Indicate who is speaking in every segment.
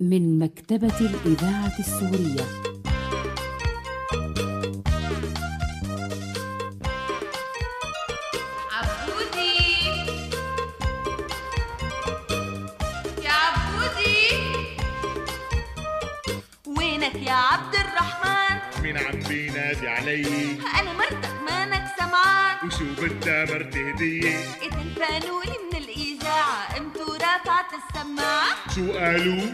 Speaker 1: من مكتبة الإذاعة السورية
Speaker 2: عبودي يا عبودي وينك يا عبد الرحمن
Speaker 3: مين عم بينادي علي
Speaker 2: انا مرتك مانك سمعان
Speaker 3: وشو بدها مرتي هدية
Speaker 2: اذا الفانولي من الاذاعه قمتوا رافعت السماعه
Speaker 3: شو قالوا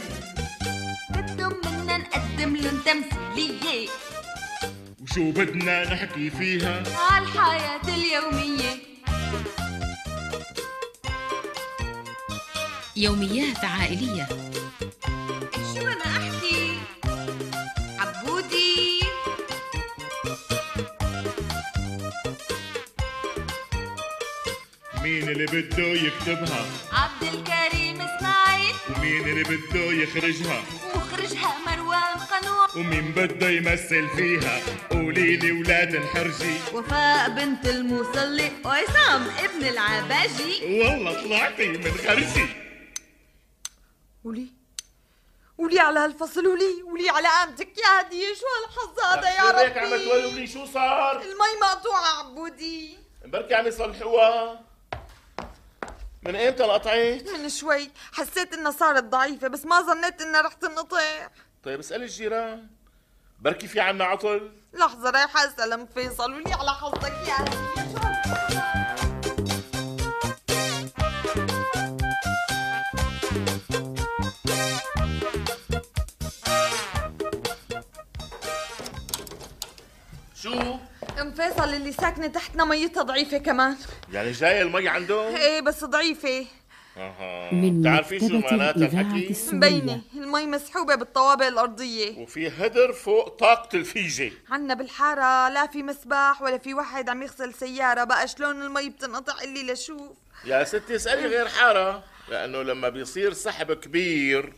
Speaker 2: بدهم منا نقدم لهم تمثيليه
Speaker 3: وشو بدنا نحكي فيها
Speaker 2: على الحياه اليوميه
Speaker 4: يوميات عائلية
Speaker 2: شو انا احكي عبودي
Speaker 3: مين اللي بده يكتبها
Speaker 2: عبد الكريم اسماعيل
Speaker 3: ومين اللي بده يخرجها
Speaker 2: ومخرجها مروان قنوع
Speaker 3: ومين بده يمثل فيها قولي لي ولاد الحرجي
Speaker 2: وفاء بنت المصلي وعصام ابن العباجي
Speaker 3: والله طلعتي من خرجي
Speaker 5: ولي ولي على هالفصل ولي ولي على قامتك يا هدية شو هالحظ هذا يا
Speaker 6: ليك عم
Speaker 5: ربي
Speaker 6: تولولي شو صار؟
Speaker 5: المي مقطوعة عبودي
Speaker 6: بركي عم يصلحوها من ايمتى انقطعت؟
Speaker 5: من شوي حسيت انها صارت ضعيفة بس ما ظنيت انها رح تنقطع
Speaker 6: طيب اسألي الجيران بركي في عنا عطل
Speaker 5: لحظة رايحة اسأل ام فيصل ولي على حظك يا هدية شو هالحظ هذا؟
Speaker 6: شو؟
Speaker 5: ام فيصل اللي ساكنة تحتنا ميتها ضعيفة كمان
Speaker 6: يعني جاي المي عندهم؟
Speaker 5: ايه بس ضعيفة
Speaker 6: اها
Speaker 1: من
Speaker 6: بتعرفي شو
Speaker 1: مكتبة
Speaker 6: معناتها
Speaker 1: الإذاعة
Speaker 6: الحكي؟
Speaker 5: مبينة
Speaker 1: السورية
Speaker 5: المي مسحوبة بالطوابق الأرضية
Speaker 6: وفي هدر فوق طاقة الفيجة
Speaker 5: عنا بالحارة لا في مسبح ولا في واحد عم يغسل سيارة بقى شلون المي بتنقطع اللي لشوف
Speaker 6: يا ستي اسألي غير حارة لأنه لما بيصير سحب كبير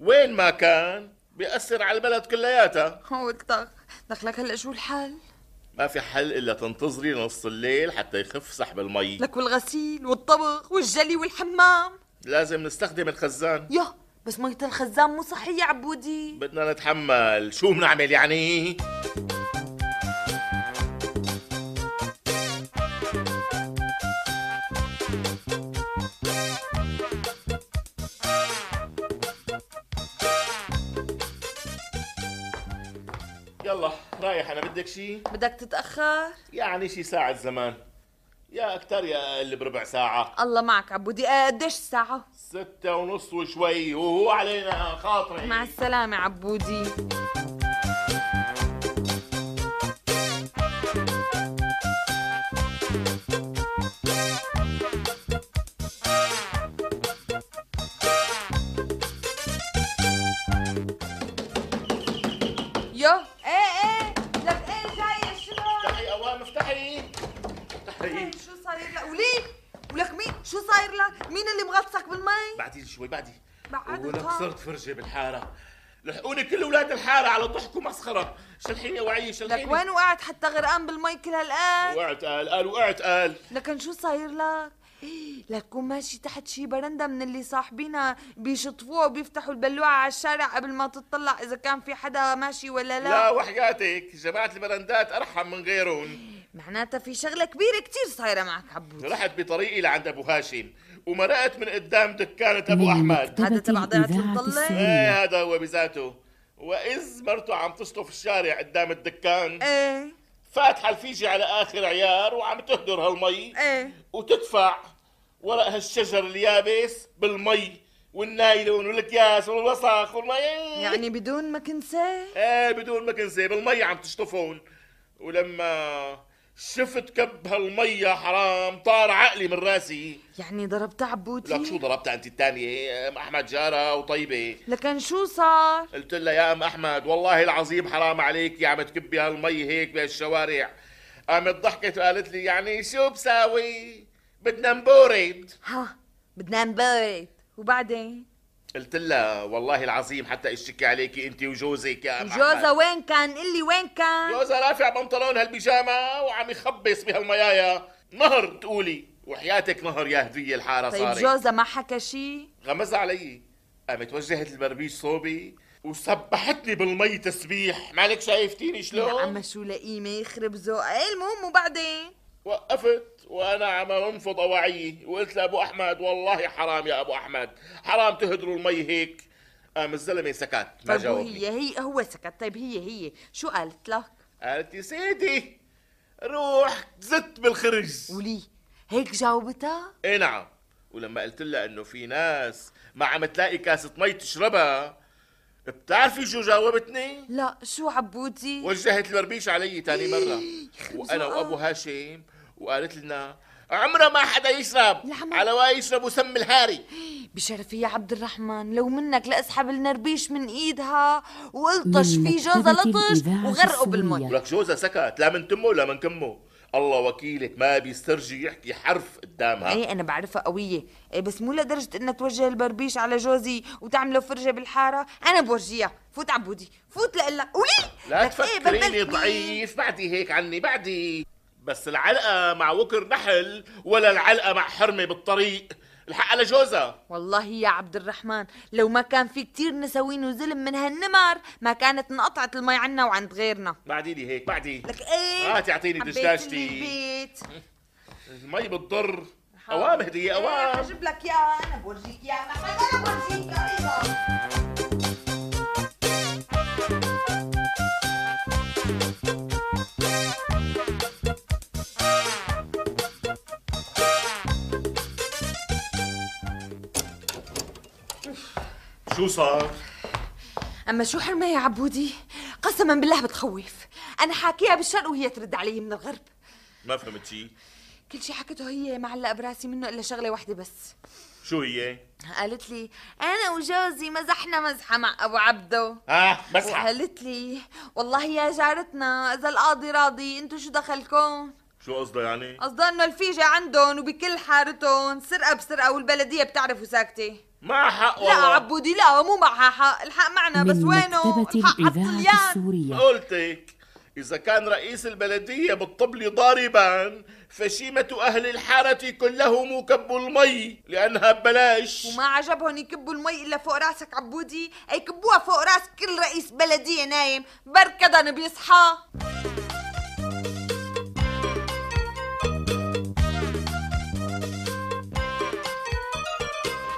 Speaker 6: وين ما كان بيأثر على البلد كلياتها
Speaker 5: هو الطخ دخلك هلا شو الحال؟
Speaker 6: ما في حل إلا تنتظري نص الليل حتى يخف سحب المي
Speaker 5: لك والغسيل والطبخ والجلي والحمام
Speaker 6: لازم نستخدم الخزان
Speaker 5: يا بس مية الخزان مو صحية عبودي
Speaker 6: بدنا نتحمل شو بنعمل يعني يلا رايح انا بدك شي
Speaker 5: بدك تتأخر؟
Speaker 6: يعني شي ساعة زمان يا اكتر يا اقل بربع ساعة
Speaker 5: الله معك عبودي آه، قديش الساعة؟
Speaker 6: ستة ونص وشوي وهو علينا خاطري
Speaker 5: مع السلامة عبودي يو ايه ايه لك ايه جاية شلون؟
Speaker 6: افتحي اوام افتحي افتحي
Speaker 5: إيه. شو صاير لك؟ وليك ولك مين؟ شو صاير لك؟ مين اللي مغطسك بالمي؟
Speaker 6: بعدي شوي بعدي
Speaker 5: بعد
Speaker 6: ولا
Speaker 5: الخط.
Speaker 6: صرت فرجه بالحاره لحقوني كل اولاد الحاره على ضحك ومسخره شلحيني وعي شلحيني
Speaker 5: لك وين وقعت حتى غرقان بالمي كل هالقد؟
Speaker 6: وقعت قال قال وقعت قال
Speaker 5: لكن شو صاير لك؟ إيه، لك كون ماشي تحت شي برندة من اللي صاحبينا بيشطفوها وبيفتحوا البلوعة على الشارع قبل ما تطلع إذا كان في حدا ماشي ولا لا,
Speaker 6: لا, وحياتك جماعه البرندات ارحم من غيرهم
Speaker 5: معناتها في شغلة كبيرة كتير صايرة معك عبود
Speaker 6: رحت بطريقي لعند ابو هاشم ومرقت من قدام دكانه ابو
Speaker 1: من
Speaker 6: احمد
Speaker 1: مكتبة
Speaker 5: هذا تبع ضيعة
Speaker 1: الإذاعة
Speaker 5: المضلة؟
Speaker 1: السورية
Speaker 6: ايه هذا هو بذاته واذ مرته عم تشطف الشارع قدام الدكان
Speaker 5: ايه
Speaker 6: فاتحه الفيجه على اخر عيار وعم تهدر هالمي
Speaker 5: ايه
Speaker 6: وتدفع ورق هالشجر اليابس بالمي والنايلون والاكياس والوسخ والمي
Speaker 5: يعني بدون ما كنسة
Speaker 6: ايه بدون ما كنسي بالمي عم تشطفون ولما شفت كب هالمي يا حرام طار عقلي من راسي
Speaker 5: يعني ضربت عبودي
Speaker 6: لك شو ضربت انت الثانيه ام احمد جاره وطيبه
Speaker 5: لكن شو صار؟
Speaker 6: قلت لها يا ام احمد والله العظيم حرام عليك يا عم تكبي هالمي هيك بهالشوارع قامت ضحكت وقالت لي يعني شو بساوي بدنا نبورد
Speaker 5: ها بدنا نبرد وبعدين؟
Speaker 6: قلت لها والله العظيم حتى اشتكي عليكي انت وجوزك يا أم
Speaker 5: جوزها
Speaker 6: أحمد.
Speaker 5: وين كان؟ قلي وين كان؟
Speaker 6: جوزها رافع بنطلون هالبيجامه وعم يخبص بهالميايا نهر تقولي وحياتك نهر يا هدية الحاره
Speaker 5: طيب
Speaker 6: صارت
Speaker 5: جوزها ما حكى شي؟
Speaker 6: غمز علي قامت وجهت البربيش صوبي وسبحتني بالمي تسبيح مالك شايفتيني
Speaker 5: يا
Speaker 6: شلون
Speaker 5: عم شو لئيمة يخرب ذوق إيه المهم وبعدين
Speaker 6: وقفت وانا عم انفض اواعيي وقلت لابو احمد والله حرام يا ابو احمد حرام تهدروا المي هيك قام الزلمه سكت ما
Speaker 5: طيب
Speaker 6: جاوبني
Speaker 5: وهي هي هو سكت طيب هي هي شو قالت لك
Speaker 6: قالت يا سيدي روح زت بالخرج
Speaker 5: ولي هيك جاوبتها
Speaker 6: اي نعم ولما قلت لها انه في ناس ما عم تلاقي كاسه مي تشربها بتعرفي شو جاوبتني؟
Speaker 5: لا شو عبودي
Speaker 6: وجهت البربيش علي تاني مرة وأنا
Speaker 5: زقاق.
Speaker 6: وأبو هاشم وقالت لنا عمره ما حدا يشرب
Speaker 5: العمى.
Speaker 6: على وين يشربوا سم الهاري
Speaker 5: بشرفي يا عبد الرحمن لو منك لاسحب النربيش من ايدها والطش
Speaker 1: من
Speaker 5: في جوزها
Speaker 1: مكتبة
Speaker 5: لطش
Speaker 1: الإذاعة
Speaker 5: وغرقه
Speaker 1: السورية.
Speaker 5: بالمي
Speaker 6: ولك جوزها سكت لا من تمه ولا من كمه الله وكيلك ما بيسترجي يحكي حرف قدامها
Speaker 5: ايه انا بعرفها قوية إيه بس مو لدرجة انها توجه البربيش على جوزي وتعمله فرجة بالحارة انا بورجيها فوت عبودي فوت لقلها قولي
Speaker 6: لا
Speaker 5: لك إيه
Speaker 6: تفكريني
Speaker 5: بلبلتني.
Speaker 6: ضعيف بعدي هيك عني بعدي بس العلقة مع وكر نحل ولا العلقة مع حرمة بالطريق الحق على جوزها
Speaker 5: والله يا عبد الرحمن لو ما كان في كتير نسوين وزلم من هالنمر ما كانت انقطعت المي عنا وعند غيرنا
Speaker 6: بعدي لي هيك بعدي
Speaker 5: لك ايه
Speaker 6: آه، تعطيني
Speaker 5: حبيت
Speaker 6: دشداشتي.
Speaker 5: لي البيت
Speaker 6: المي بتضر اوام هدية اوام
Speaker 5: اجيب إيه، لك اياها انا بورجيك اياها محمد انا بورجيك اياها إيه.
Speaker 6: شو صار؟
Speaker 5: اما شو حرمه يا عبودي قسما بالله بتخوف انا حاكيها بالشرق وهي ترد علي من الغرب
Speaker 6: ما فهمت شي
Speaker 5: كل شي حكته هي معلقه براسي منه الا شغله واحده بس
Speaker 6: شو هي؟
Speaker 5: قالت لي انا وجوزي مزحنا مزحه مع ابو عبده
Speaker 6: اه مسحة
Speaker 5: وقالت لي والله يا جارتنا اذا القاضي راضي انتو شو دخلكم
Speaker 6: شو قصدها يعني؟
Speaker 5: قصدها انه الفيجة عندهم وبكل حارتهم سرقة بسرقة والبلدية بتعرف وساكتة
Speaker 6: ما حق
Speaker 5: لا
Speaker 6: والله
Speaker 5: عبودي لا مو معها حق الحق معنا بس
Speaker 1: من
Speaker 5: وينه
Speaker 1: مكتبة
Speaker 5: الحق
Speaker 1: الإذاعة
Speaker 5: عالصليان
Speaker 1: السورية
Speaker 6: قلتك إذا كان رئيس البلدية بالطبل ضاربا فشيمة أهل الحارة كلهم كب المي لأنها ببلاش
Speaker 5: وما عجبهم يكبوا المي الا فوق راسك عبودي اي كبوها فوق راس كل رئيس بلديه نايم بركضن بيصحى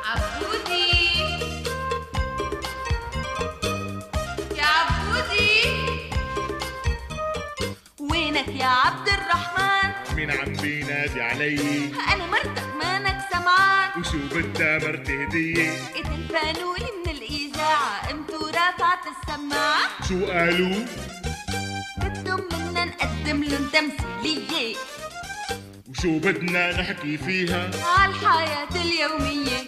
Speaker 2: عبودي يا عبودي وينك يا عبد الرحمن
Speaker 3: مين عم بينادي علي
Speaker 2: انا مرتك مانك سمعان
Speaker 3: وشو بدها مرتي هدية
Speaker 2: الفانولي من الاذاعه قمت ورافعت السماعه
Speaker 3: شو قالوا
Speaker 2: بدهم منا نقدم لهم تمثيليه
Speaker 3: وشو بدنا نحكي فيها
Speaker 2: عالحياة اليومية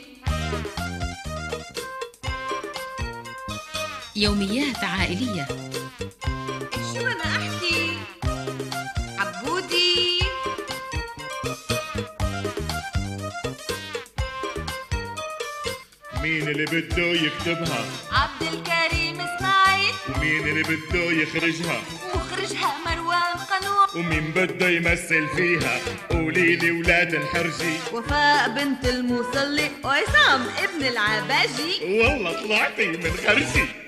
Speaker 4: يوميات عائلية
Speaker 2: شو أنا أحكي عبودي
Speaker 3: مين اللي بده يكتبها
Speaker 2: عبد الكريم إسماعيل
Speaker 3: ومين اللي بده يخرجها
Speaker 2: مخرجها مروان قنوع
Speaker 3: ومين بده يمثل فيها قولي لي ولا تنحرجي
Speaker 2: وفاء بنت المصلي وعصام ابن العباجي
Speaker 3: والله طلعتي من خرجي